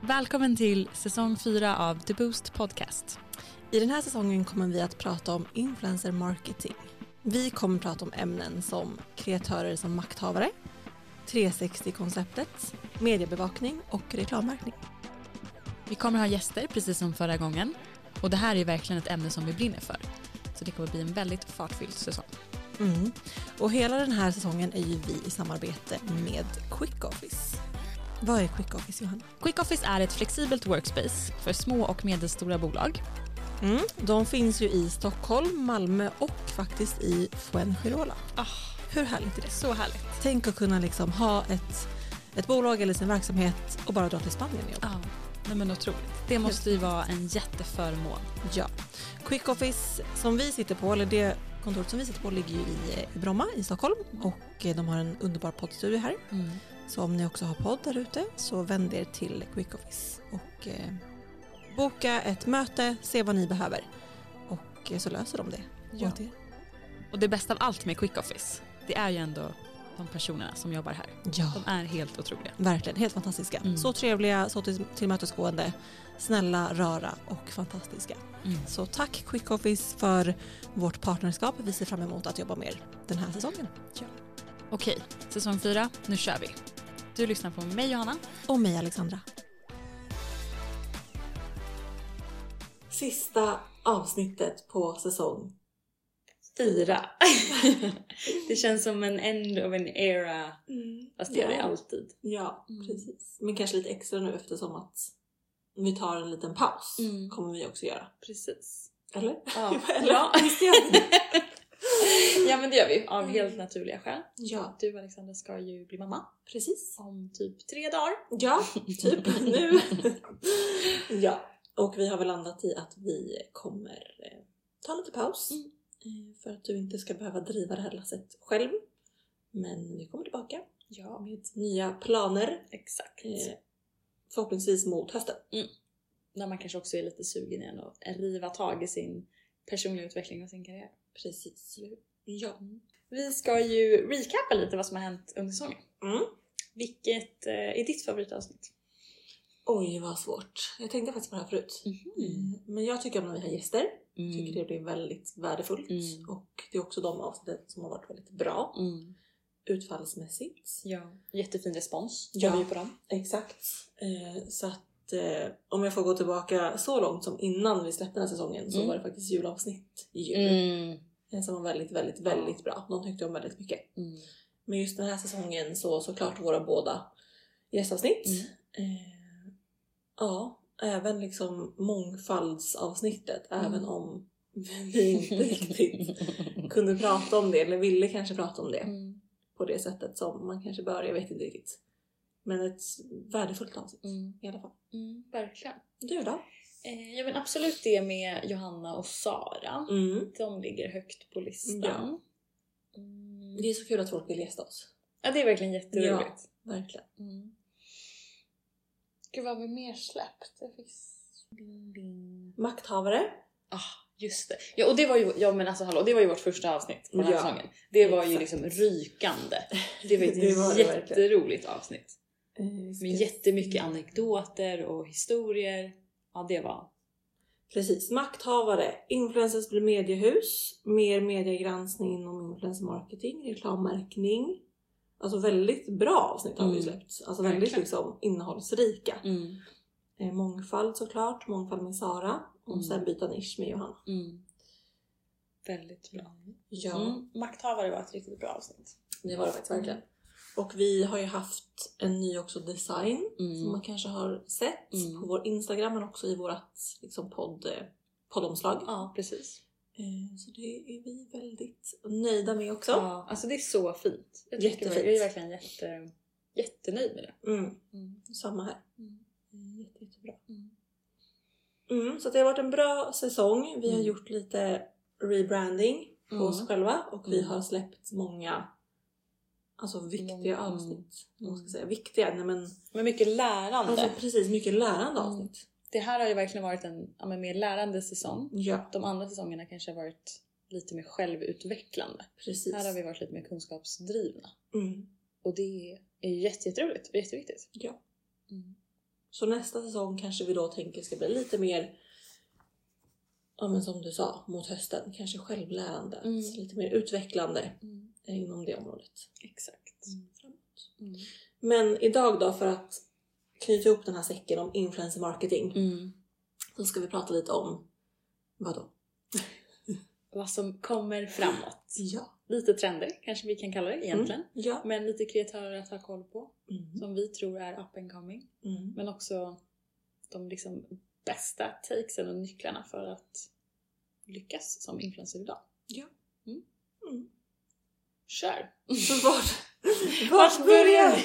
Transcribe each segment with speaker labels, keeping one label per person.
Speaker 1: Välkommen till säsong 4 av The Boost Podcast.
Speaker 2: I den här säsongen kommer vi att prata om influencer marketing. Vi kommer prata om ämnen som kreatörer som makthavare, 360-konceptet, mediebevakning och reklammärkning.
Speaker 1: Vi kommer ha gäster precis som förra gången och det här är verkligen ett ämne som vi brinner för. Så det kommer bli en väldigt fartfylld säsong.
Speaker 2: Mm. Och hela den här säsongen är ju vi i samarbete med Quick Office. Vad är Quick Office Johanna?
Speaker 1: Quick Office är ett flexibelt workspace för små och medelstora bolag.
Speaker 2: Mm. De finns ju i Stockholm, Malmö och faktiskt i Fuengirola. Hur härligt är det?
Speaker 1: Så härligt.
Speaker 2: Tänk att kunna liksom ha ett, ett bolag eller sin verksamhet och bara dra till Spanien och jobba.
Speaker 1: Ja, nej men otroligt. Det måste ju vara en jätteförmån.
Speaker 2: Ja. Quick Office som vi sitter på, eller det kontoret som vi sitter på ligger ju i eh, Bromma i Stockholm och eh, de har en underbar poddstudio här.
Speaker 1: Mm.
Speaker 2: Så om ni också har podd där ute så vänd er till Quick Office och eh, boka ett möte, se vad ni behöver och eh, så löser de det
Speaker 1: Ja.
Speaker 2: åt er.
Speaker 1: Och det bästa av allt med Quick Office, det är ju ändå de personerna som jobbar här.
Speaker 2: Ja.
Speaker 1: De är helt otroliga.
Speaker 2: Verkligen, helt fantastiska.
Speaker 1: Mm.
Speaker 2: Så trevliga, så till- tillmötesgående, snälla, röra och fantastiska.
Speaker 1: Mm.
Speaker 2: Så tack Quick Office för vårt partnerskap. Vi ser fram emot att jobba med er den här säsongen.
Speaker 1: Okej, säsong 4, nu kör vi. Du lyssnar på mig Johanna.
Speaker 2: Och mig Alexandra. Sista avsnittet på säsong.
Speaker 3: Fyra. det känns som en end of an era.
Speaker 2: Mm.
Speaker 3: Fast det gör det alltid.
Speaker 2: Ja,
Speaker 1: Mm.
Speaker 2: precis. Men kanske lite extra nu eftersom att vi tar en liten paus.
Speaker 3: Mm.
Speaker 2: Kommer vi också göra.
Speaker 3: Precis.
Speaker 2: Eller?
Speaker 3: Ja.
Speaker 2: Eller?
Speaker 3: ja.
Speaker 2: Visst gör vi det?
Speaker 3: ja men det gör vi. Av
Speaker 2: Mm.
Speaker 3: helt naturliga skäl.
Speaker 2: Ja,
Speaker 3: Du Alexandra ska ju bli mamma
Speaker 2: precis.
Speaker 3: om typ tre dagar.
Speaker 2: Ja, typ nu. ja, och vi har väl landat i att vi kommer eh, ta lite paus.
Speaker 3: Mm.
Speaker 2: eh, För att du inte ska behöva driva det här lasset själv. Men vi kommer tillbaka
Speaker 3: Ja,
Speaker 2: med nya planer.
Speaker 3: exakt.
Speaker 2: Eh, förhoppningsvis mot hösten.
Speaker 3: När man kanske också är lite sugen igen och riva tag i sin personliga utveckling och sin karriär.
Speaker 2: Precis. Ja.
Speaker 3: Vi ska ju recapa lite vad som har hänt under säsongen.
Speaker 2: Mm.
Speaker 3: Vilket eh, är ditt favoritavsnitt?
Speaker 2: Oj vad svårt. Jag tänkte faktiskt på det här förut.
Speaker 3: Mm.
Speaker 2: Eh, Men jag tycker om när vi har gäster. Jag tycker det blir väldigt värdefullt.
Speaker 3: Mm.
Speaker 2: Och det är också de avsnitten som har varit väldigt bra
Speaker 3: Mm.
Speaker 2: utfallsmässigt.
Speaker 3: Ja, jättefin respons.
Speaker 2: Ja.
Speaker 3: Ja. vi på dem.
Speaker 2: Exakt. Eh, så att eh, om jag får gå tillbaka så långt som innan vi släppte den här säsongen så
Speaker 3: Mm.
Speaker 2: var det faktiskt julavsnitt i jul
Speaker 3: Mm.
Speaker 2: eh, som var väldigt, väldigt, väldigt bra. De tyckte om väldigt mycket.
Speaker 3: Mm.
Speaker 2: Men just den här säsongen så såklart våra båda gästavsnitt.
Speaker 3: Mm.
Speaker 2: Eh, ja, även liksom mångfaldsavsnittet,
Speaker 3: Mm.
Speaker 2: även om vi inte riktigt kunde prata om det eller ville kanske prata om det
Speaker 3: Mm.
Speaker 2: på det sättet som man kanske bör, jag vet inte riktigt. Men ett värdefullt avsnitt
Speaker 3: Mm.
Speaker 2: i alla fall.
Speaker 3: Mm. Verkligen.
Speaker 2: Du då?
Speaker 3: Eh, jag vill absolut det med Johanna och Sara.
Speaker 2: Mm.
Speaker 3: De ligger högt på listan. Mm.
Speaker 2: Det är så kul att folk vill gästa oss.
Speaker 3: Ja, det är verkligen jätteroligt.
Speaker 2: Verkligen.
Speaker 3: Mm. Gud, vad har vi mer släppt? Det finns- Ding, ding.
Speaker 2: Makthavare.
Speaker 3: Ah, just det. Ja, och det var ju, ja, men alltså, hallå, det var ju vårt första avsnitt på den här
Speaker 2: Ja,
Speaker 3: säsongen. Det var ju
Speaker 2: exakt.
Speaker 3: liksom rykande. Det var ett
Speaker 2: Det var det verkligen.
Speaker 3: jätteroligt avsnitt. Med
Speaker 2: Mm.
Speaker 3: jättemycket anekdoter och historier. Ja, det var...
Speaker 2: Precis. Makthavare. Influencers blir mediehus. Mer mediegranskning inom influencer marketing. Reklammärkning. Alltså väldigt bra avsnitt har vi
Speaker 3: Mm.
Speaker 2: släppt. Alltså väldigt
Speaker 3: Verkligen.
Speaker 2: liksom innehållsrika. Eh, Mångfald såklart. Mångfald med Sara. Och
Speaker 3: Mm.
Speaker 2: sen byta nisch med Johanna.
Speaker 3: Väldigt bra.
Speaker 2: Ja,
Speaker 3: Mm. Makthavare var ett riktigt bra avsnitt.
Speaker 2: det var det faktiskt verkligen. Och vi har ju haft en ny också design. som man kanske har sett
Speaker 3: Mm.
Speaker 2: på vår Instagram men också i vårt liksom, podd, eh, poddomslag.
Speaker 3: Ja, precis.
Speaker 2: Eh, Så det är vi väldigt nöjda med också.
Speaker 3: Ja, alltså det är så fint. Jag, tycker
Speaker 2: Jättefint.
Speaker 3: jag är verkligen jätte, jättenöjd med det.
Speaker 2: Mm, samma här. Eh, Jätte, jättebra.
Speaker 3: Mm.
Speaker 2: Mm, så det har varit en bra säsong. Vi har
Speaker 3: Mm.
Speaker 2: gjort lite rebranding på
Speaker 3: Mm.
Speaker 2: oss själva och vi
Speaker 3: Mm.
Speaker 2: har släppt många alltså, viktiga
Speaker 3: Många-
Speaker 2: avsnitt. Mm. Man ska
Speaker 3: Mm.
Speaker 2: säga. Viktiga, nej men
Speaker 3: Men mycket lärande.
Speaker 2: alltså, precis mycket lärande
Speaker 3: Mm.
Speaker 2: avsnitt.
Speaker 3: det här har ju verkligen varit en ja, men mer lärande säsong.
Speaker 2: Ja,
Speaker 3: De andra säsongerna kanske har varit lite mer självutvecklande.
Speaker 2: precis.
Speaker 3: Här har vi varit lite mer kunskapsdrivna.
Speaker 2: Mm.
Speaker 3: Och det är jätte- jätteroligt och jätteviktigt.
Speaker 2: Ja.
Speaker 3: Mm.
Speaker 2: Så nästa säsong kanske vi då tänker ska bli lite mer, ja men som du sa, mot hösten. Kanske självlärande, alltså
Speaker 1: Mm.
Speaker 2: lite mer utvecklande
Speaker 1: Mm.
Speaker 2: inom det området.
Speaker 3: Exakt.
Speaker 1: Mm.
Speaker 2: Men idag då för att knyta ihop den här säcken om influencer marketing
Speaker 1: Mm.
Speaker 2: så ska vi prata lite om vadå?
Speaker 3: Vad som kommer framåt.
Speaker 2: Ja.
Speaker 3: Lite trender kanske vi kan kalla det egentligen.
Speaker 2: Mm. Ja.
Speaker 3: Men lite kreatörer att ha koll på.
Speaker 2: Mm.
Speaker 3: Som vi tror är up and coming.
Speaker 2: Mm.
Speaker 3: Men också de liksom bästa takesen och nycklarna för att lyckas som influencer idag.
Speaker 2: Ja.
Speaker 3: Mm.
Speaker 2: Mm.
Speaker 3: Kör!
Speaker 2: Så vart, vart börjar vi?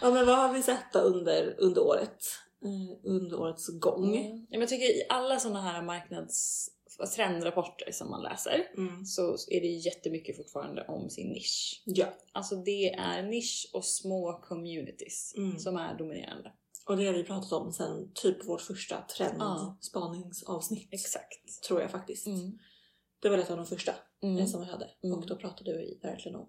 Speaker 2: Ja men vad har vi sett då under, under året? Eh, under årets gång.
Speaker 3: Mm. Ja, men jag tycker i alla sådana här marknads trendrapporter som man läser
Speaker 2: Mm.
Speaker 3: så är det ju jättemycket fortfarande om sin nisch.
Speaker 2: Ja.
Speaker 3: Alltså det är nisch och små communities
Speaker 2: Mm.
Speaker 3: som är dominerande.
Speaker 2: Och det har vi pratat om sen typ vårt första
Speaker 3: Ja.
Speaker 2: trendspaningsavsnitt.
Speaker 3: Exakt.
Speaker 2: Tror jag faktiskt.
Speaker 3: Mm.
Speaker 2: Det var ett av de första
Speaker 3: Mm.
Speaker 2: eh, som vi hade.
Speaker 3: Mm.
Speaker 2: Och då pratade vi verkligen om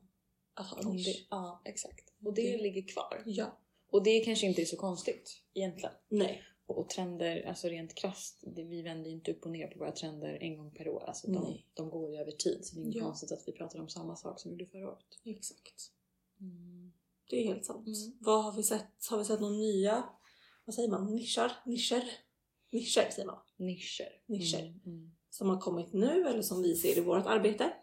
Speaker 2: att ha
Speaker 3: Om
Speaker 2: nisch.
Speaker 3: det, ja, exakt. Och det,
Speaker 2: Det-
Speaker 3: ligger kvar.
Speaker 2: Ja.
Speaker 3: Och det kanske inte är så konstigt egentligen.
Speaker 2: Nej.
Speaker 3: Och, och trender, alltså rent krasst, det, vi vänder ju inte upp och ner på våra trender en gång per år. Alltså de,
Speaker 2: Nej.
Speaker 3: de går ju över tid så det är inte
Speaker 2: Ja.
Speaker 3: konstigt att vi pratar om samma sak som vi gjorde förra året.
Speaker 2: Exakt.
Speaker 3: Mm.
Speaker 2: Det är helt sant.
Speaker 3: Mm.
Speaker 2: Vad har vi sett? Har vi sett några nya, vad säger man, nischar? Nischer? Nischer säger man.
Speaker 3: Nischer.
Speaker 2: Nischer.
Speaker 3: Mm, mm.
Speaker 2: Som har kommit nu eller som vi ser i vårt arbete.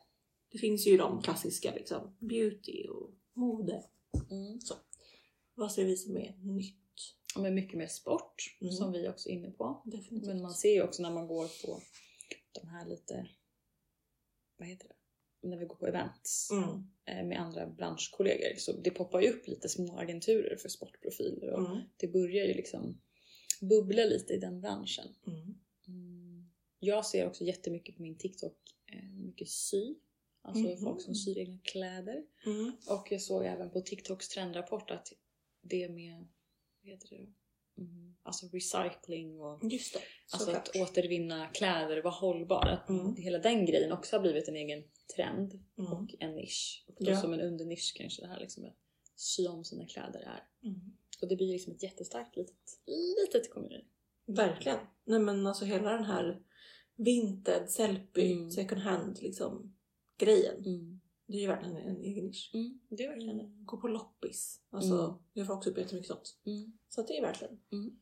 Speaker 2: Det finns ju de klassiska liksom, beauty och mode.
Speaker 3: Mm.
Speaker 2: Vad ser vi som är nytt?
Speaker 3: Ja, Men mycket mer sport
Speaker 2: Mm.
Speaker 3: som vi också är inne på.
Speaker 2: Definitivt.
Speaker 3: Men man ser ju också när man går på de här lite, vad heter det? När vi går på events
Speaker 2: Mm.
Speaker 3: eh, med andra branschkollegor så det poppar ju upp lite små agenturer för sportprofiler och
Speaker 2: Mm.
Speaker 3: det börjar ju liksom bubbla lite i den branschen.
Speaker 2: Mm.
Speaker 3: Mm. Jag ser också jättemycket på min TikTok, eh, mycket sy. Alltså
Speaker 2: Mhm.
Speaker 3: folk som syr egna kläder.
Speaker 2: Mm.
Speaker 3: Och jag såg även på TikToks trendrapport att det med, vad heter det? Mm, alltså recycling och
Speaker 2: Just det,
Speaker 3: alltså
Speaker 2: såklart.
Speaker 3: att återvinna kläder, vara hållbar. Att
Speaker 2: Mm.
Speaker 3: Hela den grejen också har blivit en egen trend
Speaker 2: Mm.
Speaker 3: och en nisch. Och då
Speaker 2: Ja.
Speaker 3: som en undernisch kanske det här liksom att sy om sina kläder är.
Speaker 2: Mm.
Speaker 3: Och det blir liksom ett jättestarkt litet, litet community.
Speaker 2: Verkligen. Nej men alltså hela den här vinted, selfie,
Speaker 3: Mm.
Speaker 2: second hand liksom grejen.
Speaker 3: Mm.
Speaker 2: Det är ju verkligen en egen nisch.
Speaker 3: Mm, det är verkligen det.
Speaker 2: Gå på loppis. Alltså,
Speaker 3: Mm.
Speaker 2: Jag får också upp jättemycket sånt.
Speaker 3: Mm.
Speaker 2: Så att det är verkligen
Speaker 3: Mm.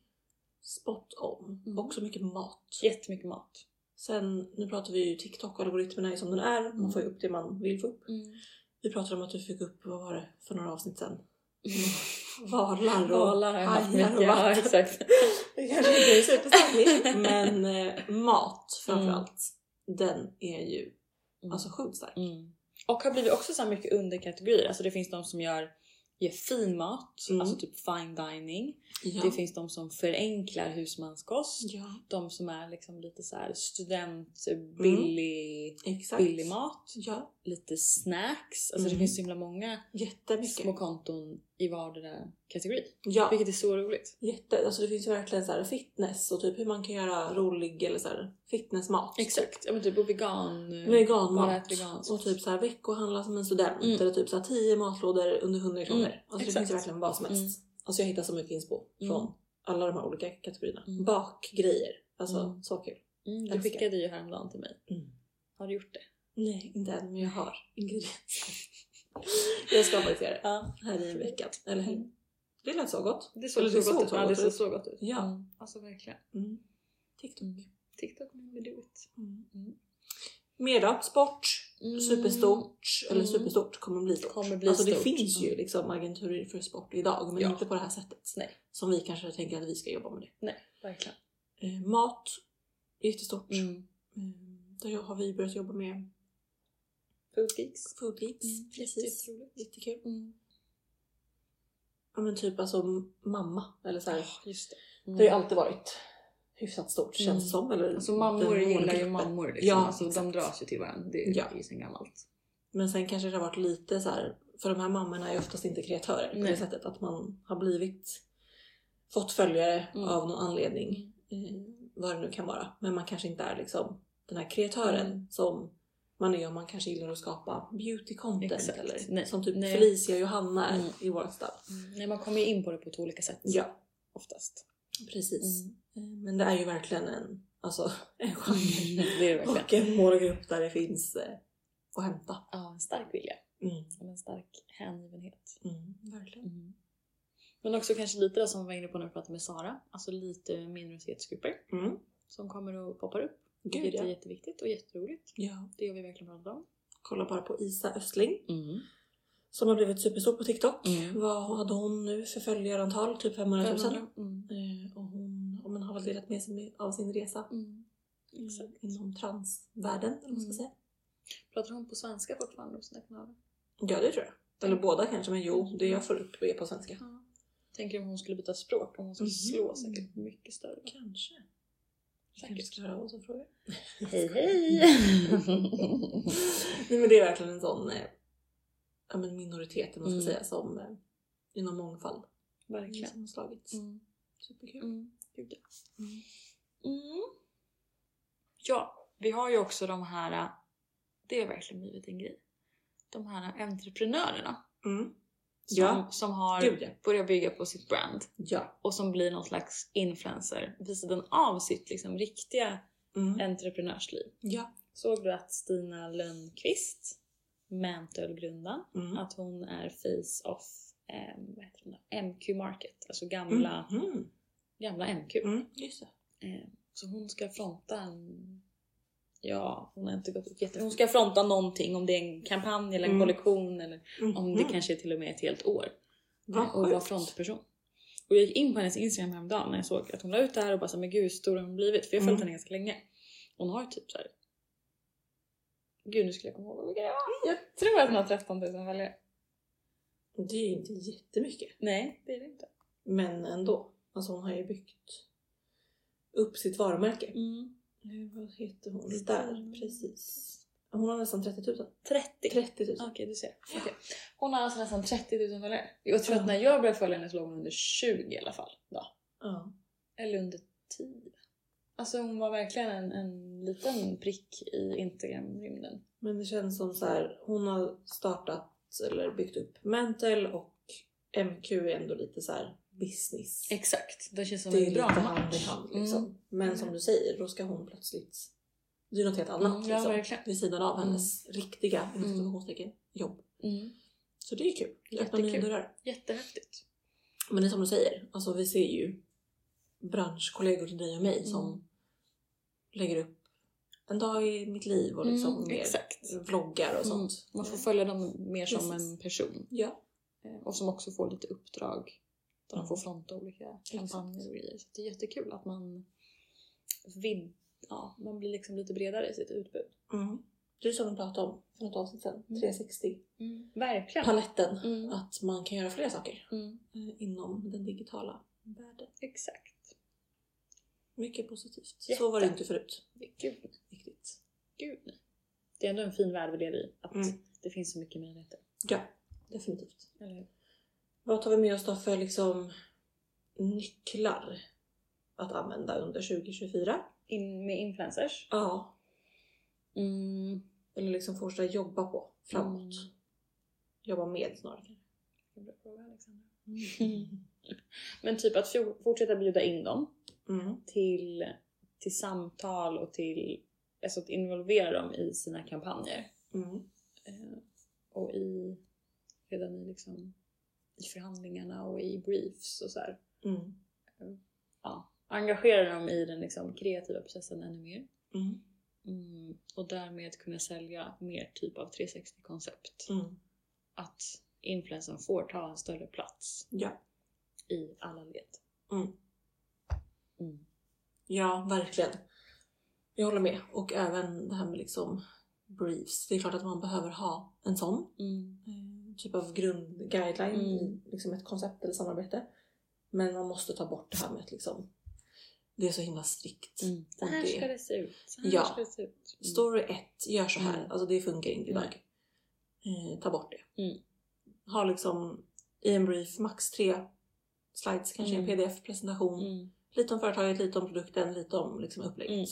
Speaker 2: spot on.
Speaker 3: Mm.
Speaker 2: Också mycket mat.
Speaker 3: Jättemycket mat.
Speaker 2: Sen, nu pratar vi ju TikTok, algoritmen är ju som den är. Man
Speaker 3: Mm.
Speaker 2: får ju upp det man vill få upp.
Speaker 3: Mm.
Speaker 2: Vi pratade om att du fick upp, vad var det för några avsnitt sen? Valar och
Speaker 3: Valar har jag haft
Speaker 2: hajar och
Speaker 3: mycket, ja
Speaker 2: vatten.
Speaker 3: exakt.
Speaker 2: Det kanske inte är superstarkt men eh, mat framförallt. Den är ju
Speaker 3: Mm.
Speaker 2: alltså sjukt stark.
Speaker 3: Mm. Och har blivit också så här mycket underkategorier. Alltså det finns de som gör, gör fin mat,
Speaker 2: Mm.
Speaker 3: alltså typ fine dining.
Speaker 2: Ja.
Speaker 3: Det finns de som förenklar husmanskost.
Speaker 2: ja,
Speaker 3: De som är liksom lite så här student, billig,
Speaker 2: exakt.
Speaker 3: billig mat.
Speaker 2: Ja,
Speaker 3: Lite snacks. Alltså
Speaker 2: Mm.
Speaker 3: det finns så himla många
Speaker 2: jättemycket.
Speaker 3: små konton i vardera kategori.
Speaker 2: Ja.
Speaker 3: Vilket är så roligt.
Speaker 2: Jätte, alltså det finns ju verkligen så här fitness och typ hur man kan göra rolig eller så här fitnessmat. Mm.
Speaker 3: Exakt, ja men typ och vegan. Bara
Speaker 2: Veganmat
Speaker 3: äta veganskt.
Speaker 2: och typ så här veckohandla som en student
Speaker 3: Mm.
Speaker 2: eller typ så här 10 matlådor under 100 kronor.
Speaker 3: Mm,
Speaker 2: Alltså det
Speaker 3: exakt.
Speaker 2: finns ju verkligen vad som helst. Alltså jag hittar så mycket inspo från
Speaker 3: Mm.
Speaker 2: alla de här olika kategorierna.
Speaker 3: Mm.
Speaker 2: Bakgrejer, alltså Mm.
Speaker 3: Mm.
Speaker 2: så kul.
Speaker 3: Mm, du
Speaker 2: Älskar.
Speaker 3: skickade ju häromdagen till mig. Har du gjort det?
Speaker 2: Nej, inte än men jag har ingredienser. jag ska faktiskt göra det
Speaker 3: Ja.
Speaker 2: här i veckan, eller helgen.
Speaker 3: Mm.
Speaker 2: Det lät så gott.
Speaker 3: Det såg
Speaker 2: Eller
Speaker 3: så,
Speaker 2: det
Speaker 3: gott
Speaker 2: såg
Speaker 3: ut.
Speaker 2: så
Speaker 3: Ja,
Speaker 2: gott
Speaker 3: det såg
Speaker 2: ut.
Speaker 3: så gott ut.
Speaker 2: Ja.
Speaker 3: Mm. Alltså verkligen.
Speaker 2: Mm. TikTok.
Speaker 3: TikTok med do it.
Speaker 2: Mm.
Speaker 3: Mm.
Speaker 2: Mer då? Sport?
Speaker 3: Mm.
Speaker 2: Superstort? Eller
Speaker 3: Mm.
Speaker 2: superstort? Kommer bli stort.
Speaker 3: Kommer bli
Speaker 2: alltså det
Speaker 3: stort,
Speaker 2: finns ju
Speaker 3: ja.
Speaker 2: liksom agenturer för sport idag men
Speaker 3: Ja.
Speaker 2: inte på det här sättet.
Speaker 3: Nej.
Speaker 2: Som vi kanske tänker att vi ska jobba med det.
Speaker 3: Nej, verkligen.
Speaker 2: Eh, mat? Jättestort.
Speaker 3: Mm.
Speaker 2: Mm. Där har vi börjat jobba med
Speaker 3: Food geeks.
Speaker 2: food geeks.
Speaker 3: Mm,
Speaker 2: Precis.
Speaker 3: jätteroligt.
Speaker 2: Jättekul.
Speaker 3: Mm.
Speaker 2: Ja men typ alltså mamma eller så här.
Speaker 3: Ja, just det. Mm.
Speaker 2: Det har ju alltid varit hyfsat stort känns
Speaker 3: Mm.
Speaker 2: som. Eller
Speaker 3: Alltså mammor
Speaker 2: den
Speaker 3: gillar ju
Speaker 2: målgruppen.
Speaker 3: mammor. Liksom.
Speaker 2: Ja,
Speaker 3: alltså, de
Speaker 2: exakt.
Speaker 3: dras ju till varandra. Det är
Speaker 2: Ja.
Speaker 3: ju sen gammalt.
Speaker 2: Men sen kanske det har varit lite så här, för de här mammorna är ju oftast inte kreatörer på
Speaker 3: Nej.
Speaker 2: det sättet att man har blivit, fått följare
Speaker 3: Mm.
Speaker 2: av någon anledning, eh, vad det nu kan vara. Men man kanske inte är liksom den här kreatören
Speaker 3: Mm.
Speaker 2: som man är om man kanske gillar att skapa beauty content
Speaker 3: Exakt.
Speaker 2: eller
Speaker 3: Nej.
Speaker 2: som typ
Speaker 3: Nej.
Speaker 2: Felicia och Johanna är
Speaker 3: Mm.
Speaker 2: i World Style.
Speaker 3: Mm. Nej, man kommer ju in på det på två olika sätt.
Speaker 2: Ja,
Speaker 3: oftast.
Speaker 2: Precis.
Speaker 3: Mm.
Speaker 2: Eh, Men det är ju verkligen en, alltså, en genre
Speaker 3: Det är det verkligen.
Speaker 2: och en målgrupp där det finns eh, att hämta.
Speaker 3: Ja, en stark vilja.
Speaker 2: Mm.
Speaker 3: och En stark hängivenhet.
Speaker 2: Mm, verkligen.
Speaker 3: Mm. Men också kanske lite det som vi var inne på när vi pratade med Sara. Alltså lite minoritetsgrupper
Speaker 2: Mm.
Speaker 3: som kommer och poppar upp.
Speaker 2: Gud,
Speaker 3: Vilket är
Speaker 2: ja.
Speaker 3: jätteviktigt och jätteroligt.
Speaker 2: ja.
Speaker 3: Det har vi verkligen pratat om.
Speaker 2: Kolla bara på Isa Östling
Speaker 3: Mm.
Speaker 2: som har blivit superstor på TikTok.
Speaker 3: Mm.
Speaker 2: Vad hade hon nu för följarantal? Typ 500 000?
Speaker 3: Mm.
Speaker 2: Eh, Och hon, och man har väl delat med sig med- av sin resa
Speaker 3: Mm.
Speaker 2: eh,
Speaker 3: Exakt.
Speaker 2: inom transvärlden eller vad man ska
Speaker 3: Mm.
Speaker 2: säga.
Speaker 3: Pratar hon på svenska fortfarande på sina kanaler?
Speaker 2: Ja det tror jag. Eller båda kanske men jo, det jag får upp är på svenska.
Speaker 3: Ja. Tänker om hon skulle byta språk, om hon skulle slå
Speaker 2: Mhm.
Speaker 3: säkert mycket större.
Speaker 2: Kanske. Kanske
Speaker 3: Säkert.
Speaker 2: ska höra vad som frågar.
Speaker 3: Hej hej!
Speaker 2: Nej men det är verkligen en sån eh, ja, men minoritet eller vad man ska
Speaker 3: Mm.
Speaker 2: säga som eh, inom mångfald
Speaker 3: Verkligen.
Speaker 2: som har slagits.
Speaker 3: Mm.
Speaker 2: Superkul.
Speaker 3: Mm. Gud, ja.
Speaker 2: Mm.
Speaker 3: Mm. Ja, vi har ju också de här, äh, det har verkligen blivit en grej. De här entreprenörerna
Speaker 2: Mm.
Speaker 3: som,
Speaker 2: Ja.
Speaker 3: som har
Speaker 2: Gud ja.
Speaker 3: börjat bygga på sitt brand
Speaker 2: Ja.
Speaker 3: och som blir någon slags influencer vid sidan av sitt liksom, riktiga
Speaker 2: Mm.
Speaker 3: entreprenörsliv.
Speaker 2: Ja.
Speaker 3: Såg du att Stina Lönnqvist, Mentölgrundaren,
Speaker 2: Mm.
Speaker 3: att hon är face of eh, vad heter den då? MQ Market, alltså gamla,
Speaker 2: Mm.
Speaker 3: gamla MQ.
Speaker 2: Mm. Just det.
Speaker 3: Eh, Så hon ska fronta en... Ja, hon har inte gått upp jätte... Hon ska fronta någonting, om det är en kampanj eller en
Speaker 2: Mm.
Speaker 3: kollektion eller
Speaker 2: Mm.
Speaker 3: om det kanske är till och med ett helt år.
Speaker 2: Vad
Speaker 3: Eh, och vara
Speaker 2: sjukt.
Speaker 3: frontperson. Och jag gick in på hennes Instagram häromdagen när jag såg att hon la ut det här och bara så här, men gud hur stor har hon blivit? För jag har följt
Speaker 2: Mm.
Speaker 3: henne ganska länge. Hon har ju typ så här. Gud nu skulle jag komma ihåg vilka det
Speaker 2: Mm.
Speaker 3: var. Jag tror att hon har 13 000 följare.
Speaker 2: Det är ju inte jättemycket.
Speaker 3: Nej, det är det inte.
Speaker 2: Men ändå. Alltså hon har ju byggt upp sitt varumärke.
Speaker 3: Mm.
Speaker 2: Eh, Vad heter hon?
Speaker 3: Just
Speaker 2: Där,
Speaker 3: det.
Speaker 2: precis. Hon har nästan 30 000.
Speaker 3: 30.
Speaker 2: 30 000.
Speaker 3: Okej, du ser. Okej. Hon har alltså nästan 30 000 följare. Jag tror att
Speaker 2: Ja.
Speaker 3: när jag började följa henne så låg hon under 20 i alla fall. Då.
Speaker 2: Ja.
Speaker 3: Eller under 10. Alltså hon var verkligen en, en liten prick i Instagram-rymden.
Speaker 2: Men det känns som så här, hon har startat eller byggt upp Mental och MQ är ändå lite så här business.
Speaker 3: Exakt, det känns som
Speaker 2: Det är
Speaker 3: en
Speaker 2: lite
Speaker 3: bra
Speaker 2: hand i
Speaker 3: match.
Speaker 2: hand liksom.
Speaker 3: Mm.
Speaker 2: Men som du säger, då ska hon plötsligt... Det är något helt annat
Speaker 3: Mm, ja,
Speaker 2: liksom.
Speaker 3: verkligen.
Speaker 2: Vid sidan av hennes riktiga, inom
Speaker 3: Mm.
Speaker 2: citationstecken, jobb.
Speaker 3: Mm.
Speaker 2: Så det är kul. Det öppnar nya
Speaker 3: Jättekul.
Speaker 2: dörrar.
Speaker 3: Jättehäftigt.
Speaker 2: Men det är som du säger, alltså vi ser ju branschkollegor till dig och mig
Speaker 3: Mm.
Speaker 2: som lägger upp en dag i mitt liv och liksom
Speaker 3: Mm,
Speaker 2: mer
Speaker 3: exakt.
Speaker 2: vloggar och sånt.
Speaker 3: Mm. Man får följa dem mer som
Speaker 2: Precis.
Speaker 3: en person.
Speaker 2: Ja.
Speaker 3: Eh, Och som också får lite uppdrag där de
Speaker 2: Mm.
Speaker 3: får fronta olika kampanjer och grejer. Så det är jättekul att man, vid, ja, man blir liksom lite bredare i sitt utbud.
Speaker 2: Mm. Det är som vi pratade om för något avsnitt sedan,
Speaker 3: Mm.
Speaker 2: 360.
Speaker 3: Verkligen.
Speaker 2: Paletten.
Speaker 3: Mm.
Speaker 2: Att man kan göra fler saker
Speaker 3: Mm.
Speaker 2: eh, inom den digitala världen.
Speaker 3: Exakt.
Speaker 2: Mycket positivt.
Speaker 3: Jätte.
Speaker 2: Så var det inte förut.
Speaker 3: Det är kul.
Speaker 2: Riktigt.
Speaker 3: Gud. nej. Det är ändå en fin värld vi lever i. Att
Speaker 2: Mm.
Speaker 3: det finns så mycket möjligheter.
Speaker 2: Ja, definitivt.
Speaker 3: Eller hur?
Speaker 2: Vad tar vi med oss då för liksom nycklar att använda under 2024?
Speaker 3: In med influencers.
Speaker 2: Ja,
Speaker 3: Mm.
Speaker 2: eller liksom fortsätta jobba på framåt.
Speaker 3: Mm.
Speaker 2: Jobba med snarare.
Speaker 3: Det är en bra fråga, Alexandra. Men typ att fjo- fortsätta bjuda in dem
Speaker 2: Mm.
Speaker 3: till, till samtal och till alltså att involvera dem i sina kampanjer.
Speaker 2: Mm.
Speaker 3: Eh, och i redan i, liksom, i förhandlingarna och i briefs och så här.
Speaker 2: Mm.
Speaker 3: ja, engagera dem i den liksom kreativa processen ännu mer.
Speaker 2: Mm.
Speaker 3: Mm, och därmed kunna sälja mer typ av 360-koncept.
Speaker 2: Mm.
Speaker 3: Att influensen får ta en större plats
Speaker 2: Ja.
Speaker 3: i alla led.
Speaker 2: Mm.
Speaker 3: Mm.
Speaker 2: ja, verkligen. Jag håller med. Och även det här med liksom briefs. Det är klart att man behöver ha en sån.
Speaker 3: Mm.
Speaker 2: eh, typ av grundguideline
Speaker 3: Mm.
Speaker 2: i liksom ett koncept eller samarbete. Men man måste ta bort det här med att liksom, det är så himla strikt.
Speaker 3: Mm. Så här
Speaker 2: Och det-
Speaker 3: ska det se ut. Så här
Speaker 2: Ja.
Speaker 3: ska det se ut. Mm.
Speaker 2: Story 1, gör så här.
Speaker 3: Mm.
Speaker 2: Alltså det funkar inte idag. Eh, ta bort det.
Speaker 3: Mm.
Speaker 2: Ha liksom i en brief max tre slides, kanske
Speaker 3: Mm.
Speaker 2: en pdf-presentation.
Speaker 3: Mm.
Speaker 2: Lite om företaget, lite om produkten, lite om liksom upplägget.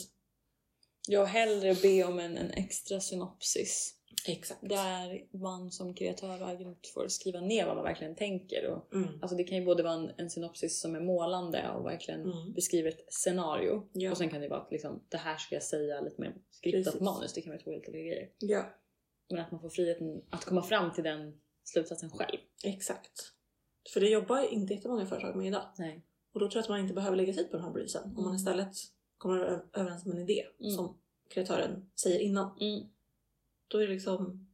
Speaker 3: Jag hellre be om en, en extra synopsis
Speaker 2: Exakt.
Speaker 3: Där man som kreatör och agent får skriva ner vad man verkligen tänker. Och,
Speaker 2: Mm.
Speaker 3: alltså det kan ju både vara en, en synopsis som är målande och verkligen
Speaker 2: Mm.
Speaker 3: beskriver ett scenario.
Speaker 2: Ja.
Speaker 3: Och sen kan det vara att liksom, det här ska jag säga lite mer skriptat
Speaker 2: Precis.
Speaker 3: manus. Det kan vara två helt olika grejer.
Speaker 2: Ja,
Speaker 3: Men att man får friheten att komma fram till den slutsatsen själv.
Speaker 2: exakt. För det jobbar inte jättemånga företag med idag.
Speaker 3: Nej.
Speaker 2: Och då tror jag att man inte behöver lägga tid på den här briefen. Om man
Speaker 3: Mm.
Speaker 2: istället kommer ö- överens om en idé
Speaker 3: Mm.
Speaker 2: som kreatören säger innan.
Speaker 3: Mm.
Speaker 2: Då är det liksom,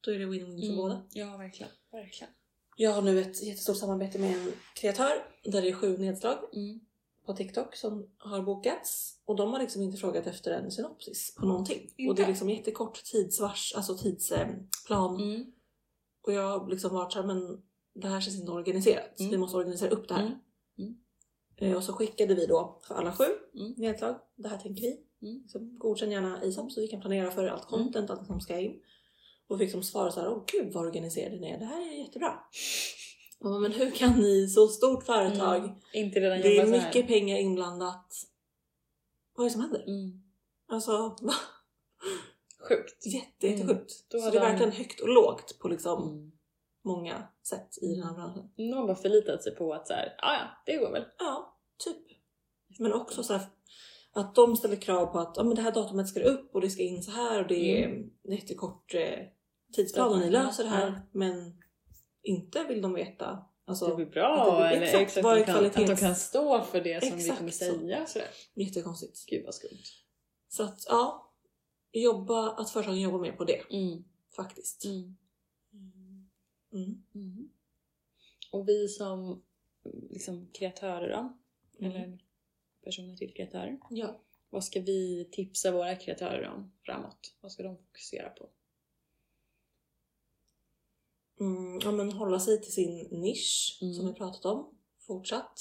Speaker 2: då är det win-win för
Speaker 3: Mm.
Speaker 2: båda.
Speaker 3: Ja, verkligen. verkligen.
Speaker 2: Jag har nu ett jättestort samarbete med en kreatör där det är sju nedslag
Speaker 3: Mm.
Speaker 2: på TikTok som har bokats och de har liksom inte frågat efter en synopsis på någonting. Och det
Speaker 3: Mm. Inte?
Speaker 2: är liksom jättekort tidsvars, alltså tidsplan.
Speaker 3: Mm.
Speaker 2: Och jag har liksom varit såhär, men det här känns inte organiserat.
Speaker 3: Mm.
Speaker 2: Vi måste organisera upp det här.
Speaker 3: Mm. Mm.
Speaker 2: Eh, Och så skickade vi då för alla sju
Speaker 3: Mm.
Speaker 2: nedslag. Det här tänker vi.
Speaker 3: Mm.
Speaker 2: Liksom, godkänn gärna ISAM så vi kan planera för allt content, allt som ska in. Och fick liksom svara så här, åh gud vad organiserade ni är. Det här är jättebra. Man bara, men hur kan ni, så stort företag,
Speaker 3: Mm. Inte redan
Speaker 2: det är
Speaker 3: jobba så här.
Speaker 2: mycket pengar inblandat. Vad är det som händer?
Speaker 3: Mm.
Speaker 2: Alltså,
Speaker 3: Sjukt.
Speaker 2: jätte, jättesjukt.
Speaker 3: Mm. Då
Speaker 2: Så
Speaker 3: har
Speaker 2: det är
Speaker 3: de-
Speaker 2: verkligen högt och lågt på liksom
Speaker 3: Mm.
Speaker 2: många sätt i den här branschen.
Speaker 3: Nu har man bara förlitat sig på att så här, "Ah, ja, det går väl.
Speaker 2: Ja, typ. Men också så här, att de ställer krav på att ja, men det här datumet ska upp och det ska in så här och det är det är jättekort eh, tidsplan och ni löser det här.
Speaker 3: Mm. Ja.
Speaker 2: Men inte vill de veta. Alltså,
Speaker 3: det blir bra.
Speaker 2: det blir-
Speaker 3: eller
Speaker 2: exakt,
Speaker 3: exakt,
Speaker 2: vad är
Speaker 3: att, de kan, att de
Speaker 2: kvalitets-
Speaker 3: kan stå för det som vi
Speaker 2: Exakt
Speaker 3: kommer
Speaker 2: så.
Speaker 3: säga. Så.
Speaker 2: Jättekonstigt.
Speaker 3: Gud vad skumt.
Speaker 2: Så att ja, jobba, att företagen jobbar mer på det
Speaker 3: Mm.
Speaker 2: faktiskt.
Speaker 3: Mm.
Speaker 2: Mm.
Speaker 3: Mm. Och vi som liksom, kreatörer då,
Speaker 2: Mm.
Speaker 3: eller personer till kreatörer.
Speaker 2: Ja.
Speaker 3: Vad ska vi tipsa våra kreatörer om framåt? Vad ska de fokusera på?
Speaker 2: Mm, ja, men hålla sig till sin nisch
Speaker 3: Mm.
Speaker 2: som vi pratat om fortsatt.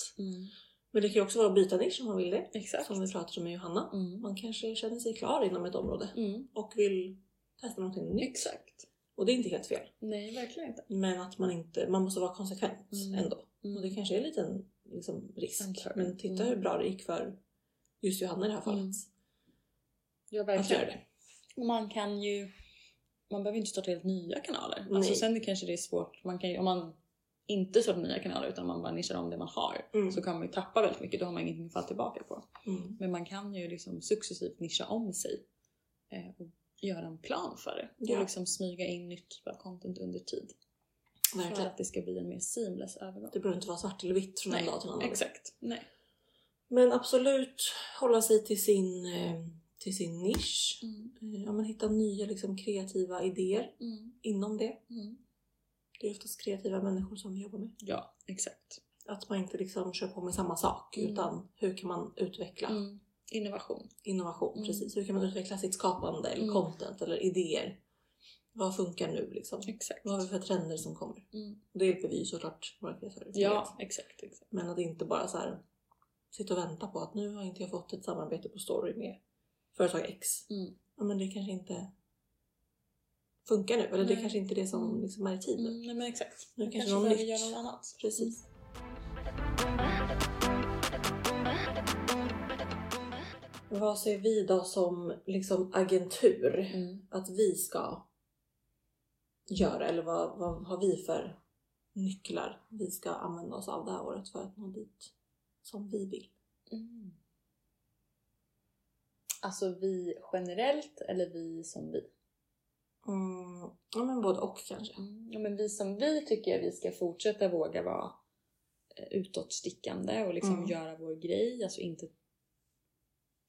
Speaker 2: Men det kan ju också vara att byta nisch om man vill det.
Speaker 3: Exakt.
Speaker 2: Som vi pratade om med Johanna.
Speaker 3: Mm.
Speaker 2: Man kanske känner sig klar inom ett område.
Speaker 3: Mm.
Speaker 2: och vill testa någonting nytt.
Speaker 3: Exakt.
Speaker 2: Och det är inte helt fel.
Speaker 3: Nej, verkligen inte.
Speaker 2: Men att man inte, man måste vara konsekvent
Speaker 3: Mm.
Speaker 2: ändå. Och det kanske är en liten liksom, risk.
Speaker 3: Antagligen.
Speaker 2: Men titta
Speaker 3: Mm.
Speaker 2: hur bra det gick för just Johanna i det här fallet.
Speaker 3: Mm. Ja,
Speaker 2: Att göra
Speaker 3: Mm. verkligen.
Speaker 2: det.
Speaker 3: Och Man kan ju... Man behöver inte starta helt nya kanaler.
Speaker 2: Nej.
Speaker 3: Alltså sen kanske det är svårt. Man kan ju, om man inte startar nya kanaler utan man bara nischar om det man har
Speaker 2: Mm.
Speaker 3: så kan man ju tappa väldigt mycket. Då har man ingenting att falla tillbaka på.
Speaker 2: Mm.
Speaker 3: Men man kan ju liksom successivt nischa om sig eh, och göra en plan för det.
Speaker 2: Ja.
Speaker 3: Och liksom smyga in nytt typ av content under tid. För
Speaker 2: Verkligen.
Speaker 3: att det ska bli en mer seamless övergång.
Speaker 2: Det behöver inte vara svart eller vitt från en
Speaker 3: Nej,
Speaker 2: dag till en annan.
Speaker 3: exakt. Nej.
Speaker 2: Men absolut hålla sig till sin, eh, till sin nisch.
Speaker 3: Mm,
Speaker 2: Eh, Ja, men hitta nya liksom, kreativa idéer
Speaker 3: mm,
Speaker 2: inom det.
Speaker 3: mm.
Speaker 2: Det är oftast kreativa människor som vi jobbar med.
Speaker 3: Ja, exakt.
Speaker 2: Att man inte liksom kör på med samma sak
Speaker 3: Mm.
Speaker 2: utan hur kan man utveckla
Speaker 3: Mm. Innovation.
Speaker 2: innovation.
Speaker 3: Mm.
Speaker 2: Precis. Hur kan man utveckla sitt skapande eller
Speaker 3: Mm.
Speaker 2: content eller idéer? Vad funkar nu liksom?
Speaker 3: Exakt.
Speaker 2: Vad har vi för trender som kommer?
Speaker 3: Mm.
Speaker 2: Det hjälper vi ju såklart våra kreatörer med.
Speaker 3: Ja, exakt. exakt.
Speaker 2: Men att inte bara så här sitta och vänta på att nu har inte jag fått ett samarbete på story med företag X.
Speaker 3: Mm.
Speaker 2: Ja, men det kanske inte funkar nu. Eller det
Speaker 3: Nej.
Speaker 2: kanske inte är det som
Speaker 3: Mm.
Speaker 2: liksom är i tiden.
Speaker 3: Mm, nej men exakt.
Speaker 2: Nu
Speaker 3: Jag
Speaker 2: kanske någon
Speaker 3: behöver
Speaker 2: nytt.
Speaker 3: göra något annat.
Speaker 2: Precis. Mm. Vad ser vi då som liksom agentur
Speaker 3: Mm.
Speaker 2: att vi ska göra? Eller vad, vad har vi för nycklar vi ska använda oss av det här året för att nå dit som vi vill?
Speaker 3: Mm. Alltså vi generellt eller vi som vi?
Speaker 2: Mm, ja men både och kanske.
Speaker 3: Ja, men vi som vi tycker jag vi ska fortsätta våga vara eh, utåtstickande och liksom
Speaker 2: Mm.
Speaker 3: göra vår grej. Alltså inte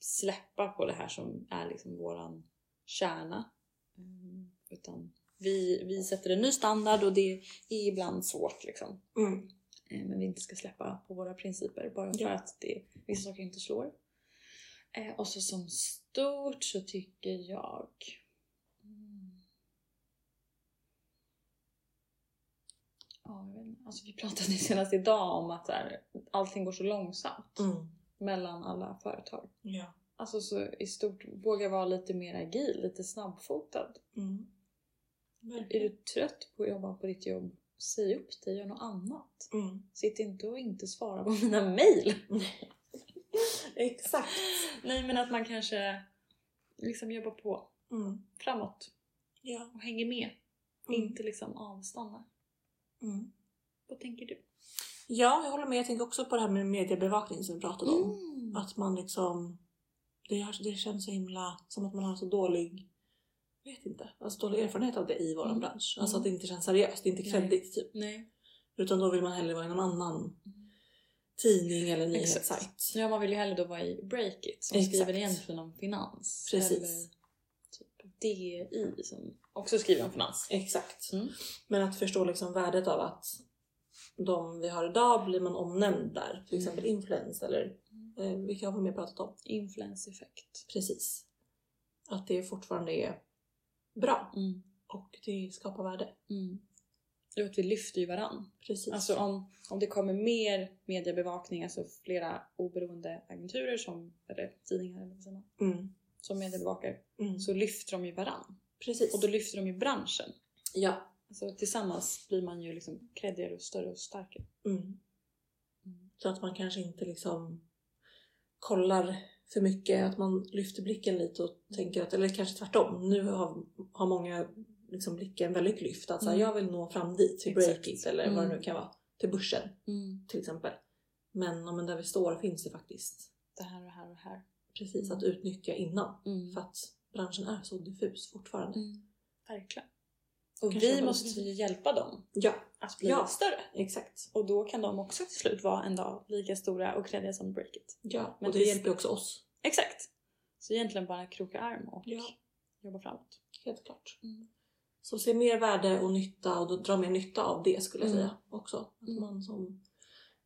Speaker 3: släppa på det här som är liksom våran kärna. Mm, Utan vi, vi sätter en ny standard och det är ibland svårt liksom.
Speaker 2: Mm,
Speaker 3: Eh, men vi inte ska släppa på våra principer bara för
Speaker 2: Ja.
Speaker 3: att det, vissa saker inte slår. Eh, och så som stort så tycker jag... Mm. Ja, jag vet inte. Alltså, vi pratade senast idag om att så här, allting går så långsamt
Speaker 2: mm,
Speaker 3: mellan alla företag.
Speaker 2: ja.
Speaker 3: Alltså så i stort, våga vara lite mer agil, lite snabbfotad.
Speaker 2: Mm.
Speaker 3: Är
Speaker 2: Verkligen.
Speaker 3: du trött på att jobba på ditt jobb, säg upp dig, gör något annat.
Speaker 2: Mm.
Speaker 3: Sitt inte och inte svara på mina mejl.
Speaker 2: Exakt.
Speaker 3: Nej men att man kanske liksom jobbar på
Speaker 2: Mm.
Speaker 3: framåt.
Speaker 4: Ja.
Speaker 3: och hänger med.
Speaker 4: Mm.
Speaker 3: Inte liksom avstannar.
Speaker 2: Mm.
Speaker 3: Vad tänker du?
Speaker 2: Ja, jag håller med. Jag tänker också på det här med mediebevakning som vi pratade om.
Speaker 3: Mm.
Speaker 2: Att man liksom... Det, har- det känns så himla som att man har så dålig... Jag vet inte. Alltså dålig erfarenhet av det i vår
Speaker 3: Mm.
Speaker 2: bransch. Alltså
Speaker 3: Mm.
Speaker 2: att det inte känns seriöst, det är inte
Speaker 3: Nej.
Speaker 2: kreddigt typ.
Speaker 3: Nej.
Speaker 2: Utan då vill man hellre vara i någon annan
Speaker 3: Mm.
Speaker 2: tidning eller
Speaker 3: Exakt.
Speaker 2: nyhetssajt.
Speaker 3: Så ja, man vill ju hellre då vara i Breakit som
Speaker 2: Exakt.
Speaker 3: skriver egentligen om finans.
Speaker 2: Precis.
Speaker 3: Eller typ DI som också skriver om finans.
Speaker 2: Exakt.
Speaker 3: Mm.
Speaker 2: Men att förstå liksom värdet av att de vi har idag blir man omnämnd där. Till
Speaker 3: Mm.
Speaker 2: exempel influens eller eh, vilka har vi mer pratat om?
Speaker 3: Influence effekt.
Speaker 2: Precis. Att det fortfarande är bra
Speaker 3: Mm.
Speaker 2: och det skapar värde.
Speaker 3: Mm. Och att vi lyfter ju varann.
Speaker 2: Precis.
Speaker 3: Alltså om, om det kommer mer mediebevakning, alltså flera oberoende agenturer som, eller tidningar eller vad säger man,
Speaker 2: mm.
Speaker 3: som mediebevakar,
Speaker 2: Mm.
Speaker 3: så lyfter de ju varann.
Speaker 2: Precis.
Speaker 3: Och då lyfter de ju branschen.
Speaker 2: ja.
Speaker 3: Alltså tillsammans blir man ju liksom kreddigare och större och starkare.
Speaker 2: Mm.
Speaker 3: Mm.
Speaker 2: Så att man kanske inte liksom kollar för mycket, att man lyfter blicken lite och tänker att, eller kanske tvärtom, nu har, har många liksom blicken väldigt lyft. Att så här,
Speaker 3: Mm.
Speaker 2: jag vill nå fram dit, till
Speaker 3: Exakt. Mm.
Speaker 2: Breakit eller vad det nu kan vara. Till börsen till exempel. Men, ja, men där vi står finns det faktiskt.
Speaker 3: Det här och det här och det här.
Speaker 2: Precis,
Speaker 3: Mm.
Speaker 2: att utnyttja innan.
Speaker 3: Mm.
Speaker 2: För att branschen är så diffus fortfarande.
Speaker 3: Mm. Verkligen. Och
Speaker 2: Kanske
Speaker 3: vi
Speaker 2: bara-
Speaker 3: måste ju hjälpa dem
Speaker 2: Ja,
Speaker 3: att bli
Speaker 2: Ja.
Speaker 3: större.
Speaker 2: exakt.
Speaker 3: Och då kan de också till slut vara en dag lika stora och kreddiga som Breakit.
Speaker 2: Ja,
Speaker 3: Men
Speaker 2: och det
Speaker 3: det-
Speaker 2: hjälper ju också oss.
Speaker 3: Exakt! Så egentligen bara kroka arm och
Speaker 2: Ja.
Speaker 3: jobba framåt.
Speaker 2: Helt klart.
Speaker 3: Mm.
Speaker 2: Så se mer värde och nytta och då dra mer nytta av det skulle jag
Speaker 3: Mm.
Speaker 2: säga också. Att
Speaker 3: Mm.
Speaker 2: man som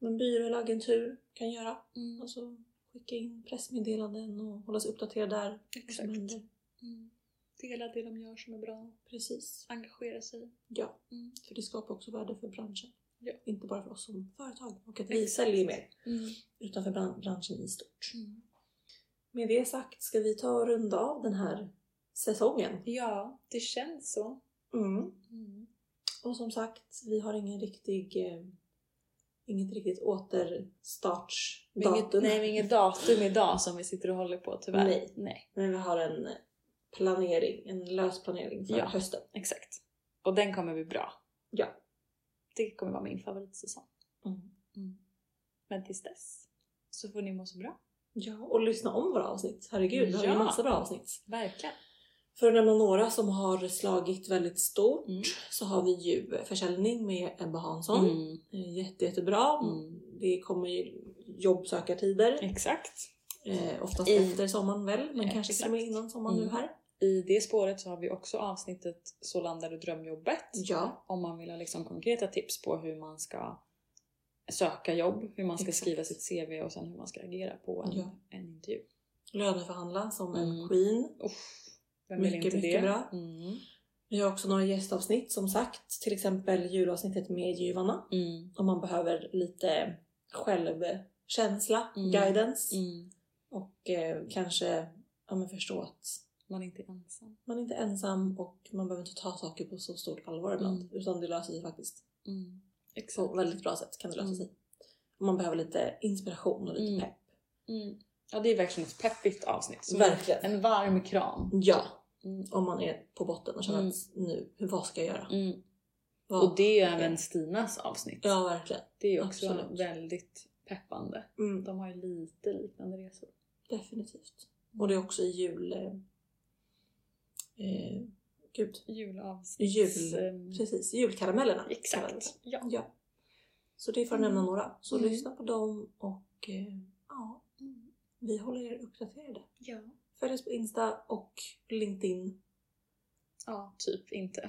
Speaker 2: en byrå eller agentur kan göra.
Speaker 3: Mm.
Speaker 2: Alltså skicka in pressmeddelanden och hålla sig uppdaterad där. vad som
Speaker 3: Exakt.
Speaker 2: händer.
Speaker 3: Mm. Dela det de gör som är bra.
Speaker 2: Precis.
Speaker 3: Engagera sig.
Speaker 2: Ja,
Speaker 3: Mm.
Speaker 2: för det skapar också värde för branschen.
Speaker 3: Ja.
Speaker 2: Inte bara för oss som företag och att vi
Speaker 3: Exakt.
Speaker 2: säljer mer
Speaker 3: Mm.
Speaker 2: utan för bran- branschen i stort. Med det sagt ska vi ta och runda av den här säsongen.
Speaker 3: Ja, det känns så.
Speaker 2: Mm.
Speaker 3: Mm.
Speaker 2: Och som sagt, vi har ingen riktig, eh, inget riktigt återstartsdatum.
Speaker 3: Inget, nej, men inget datum idag som vi sitter och håller på tyvärr.
Speaker 2: Nej.
Speaker 3: nej
Speaker 2: Men vi har en planering, en lös planering för
Speaker 3: Ja.
Speaker 2: hösten.
Speaker 3: exakt. Och den kommer bli bra.
Speaker 2: Ja.
Speaker 3: Det kommer vara min favoritsäsong.
Speaker 2: Mm.
Speaker 3: Men tills dess så får ni må så bra.
Speaker 2: Ja, och lyssna om våra avsnitt. Herregud, vi har
Speaker 3: Ja.
Speaker 2: ju massa bra avsnitt.
Speaker 3: Verkligen.
Speaker 2: För att nämna några som har slagit väldigt stort
Speaker 3: Mm.
Speaker 2: så har vi ju försäljning med Ebba Hansson. Eh, Jätte, jättebra.
Speaker 3: Mm.
Speaker 2: Det kommer ju jobbsökartider.
Speaker 3: Exakt.
Speaker 2: Eh, oftast
Speaker 3: I-
Speaker 2: efter sommaren väl, men
Speaker 3: Eh,
Speaker 2: kanske till och med
Speaker 3: exakt.
Speaker 2: innan sommaren
Speaker 3: Mm.
Speaker 2: nu här.
Speaker 3: I det spåret så har vi också avsnittet Så landar du drömjobbet.
Speaker 2: Ja.
Speaker 3: om man vill ha liksom konkreta tips på hur man ska söka jobb, hur man ska
Speaker 2: Exakt.
Speaker 3: skriva sitt CV och sen hur man ska agera på en,
Speaker 2: Ja.
Speaker 3: en intervju.
Speaker 2: löneförhandla som
Speaker 3: Mm.
Speaker 2: en queen.
Speaker 3: Uff, vem vill
Speaker 2: Mycket,
Speaker 3: inte
Speaker 2: mycket
Speaker 3: det?
Speaker 2: bra.
Speaker 3: Mm.
Speaker 2: Vi har också några gästavsnitt som sagt, till exempel julavsnittet med Givarna
Speaker 3: Mm.
Speaker 2: om man behöver lite självkänsla,
Speaker 3: Mm.
Speaker 2: guidance
Speaker 3: Mm.
Speaker 2: och eh, kanske ja, men förstå att
Speaker 3: Man är inte ensam.
Speaker 2: man är inte är ensam och man behöver inte ta saker på så stort allvar ibland utan det löser sig faktiskt
Speaker 3: Mm. Exakt.
Speaker 2: på väldigt bra sätt kan det lösa
Speaker 3: Mm.
Speaker 2: sig. Och man behöver lite inspiration och lite
Speaker 3: Mm.
Speaker 2: pepp.
Speaker 3: Mm. Ja, det är verkligen ett peppigt avsnitt. Som
Speaker 2: Verkligen!
Speaker 3: en varm kram.
Speaker 2: Ja,
Speaker 3: Mm.
Speaker 2: om man är på botten och känner
Speaker 3: Mm.
Speaker 2: att nu, hur- vad ska jag göra?
Speaker 3: Mm.
Speaker 2: Vad-
Speaker 3: Och det är ju även Stinas avsnitt.
Speaker 2: Ja, verkligen.
Speaker 3: Det är ju också
Speaker 2: absolut.
Speaker 3: väldigt peppande.
Speaker 2: Mm.
Speaker 3: De har ju lite liknande resor.
Speaker 2: Definitivt. Och det är också i jul... Eh, eh, gud.
Speaker 3: Julavsnitt.
Speaker 2: Jul.
Speaker 3: Ehm,
Speaker 2: Precis, julkaramellerna.
Speaker 3: Exakt. Ja.
Speaker 2: Ja. Så det är för att
Speaker 3: Mm.
Speaker 2: nämna några. Så
Speaker 3: Mm.
Speaker 2: lyssna på dem och eh, ja,
Speaker 3: Mm.
Speaker 2: vi håller er uppdaterade.
Speaker 3: ja.
Speaker 2: Följ oss på Insta och LinkedIn.
Speaker 3: Ja, typ inte.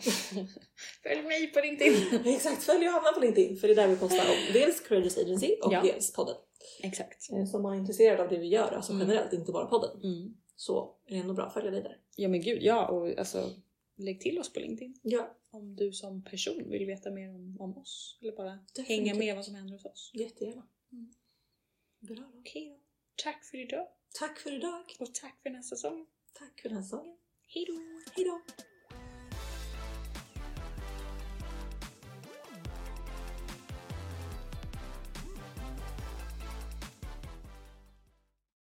Speaker 3: Följ mig på LinkedIn!
Speaker 2: Exakt, följ Johanna på LinkedIn för det är där vi postar om dels Credits Agency och
Speaker 3: Ja.
Speaker 2: dels podden.
Speaker 3: Exakt.
Speaker 2: Eh, Så om man är intresserad av det vi gör, alltså
Speaker 3: Mm.
Speaker 2: generellt, inte bara podden,
Speaker 3: Mm.
Speaker 2: så är det ändå bra att följa dig där.
Speaker 3: Ja men gud, ja och alltså lägg till oss på LinkedIn.
Speaker 2: Ja,
Speaker 3: Om du som person vill veta mer om, om oss. Eller bara
Speaker 2: Definitivt.
Speaker 3: hänga med vad som händer hos oss.
Speaker 2: jättegärna.
Speaker 3: Mm.
Speaker 2: Bra då.
Speaker 3: Okej då. Tack för idag
Speaker 2: Tack för idag.
Speaker 3: och tack för nästa säsong.
Speaker 2: Tack för den här säsongen.
Speaker 3: Hejdå!
Speaker 2: Hejdå!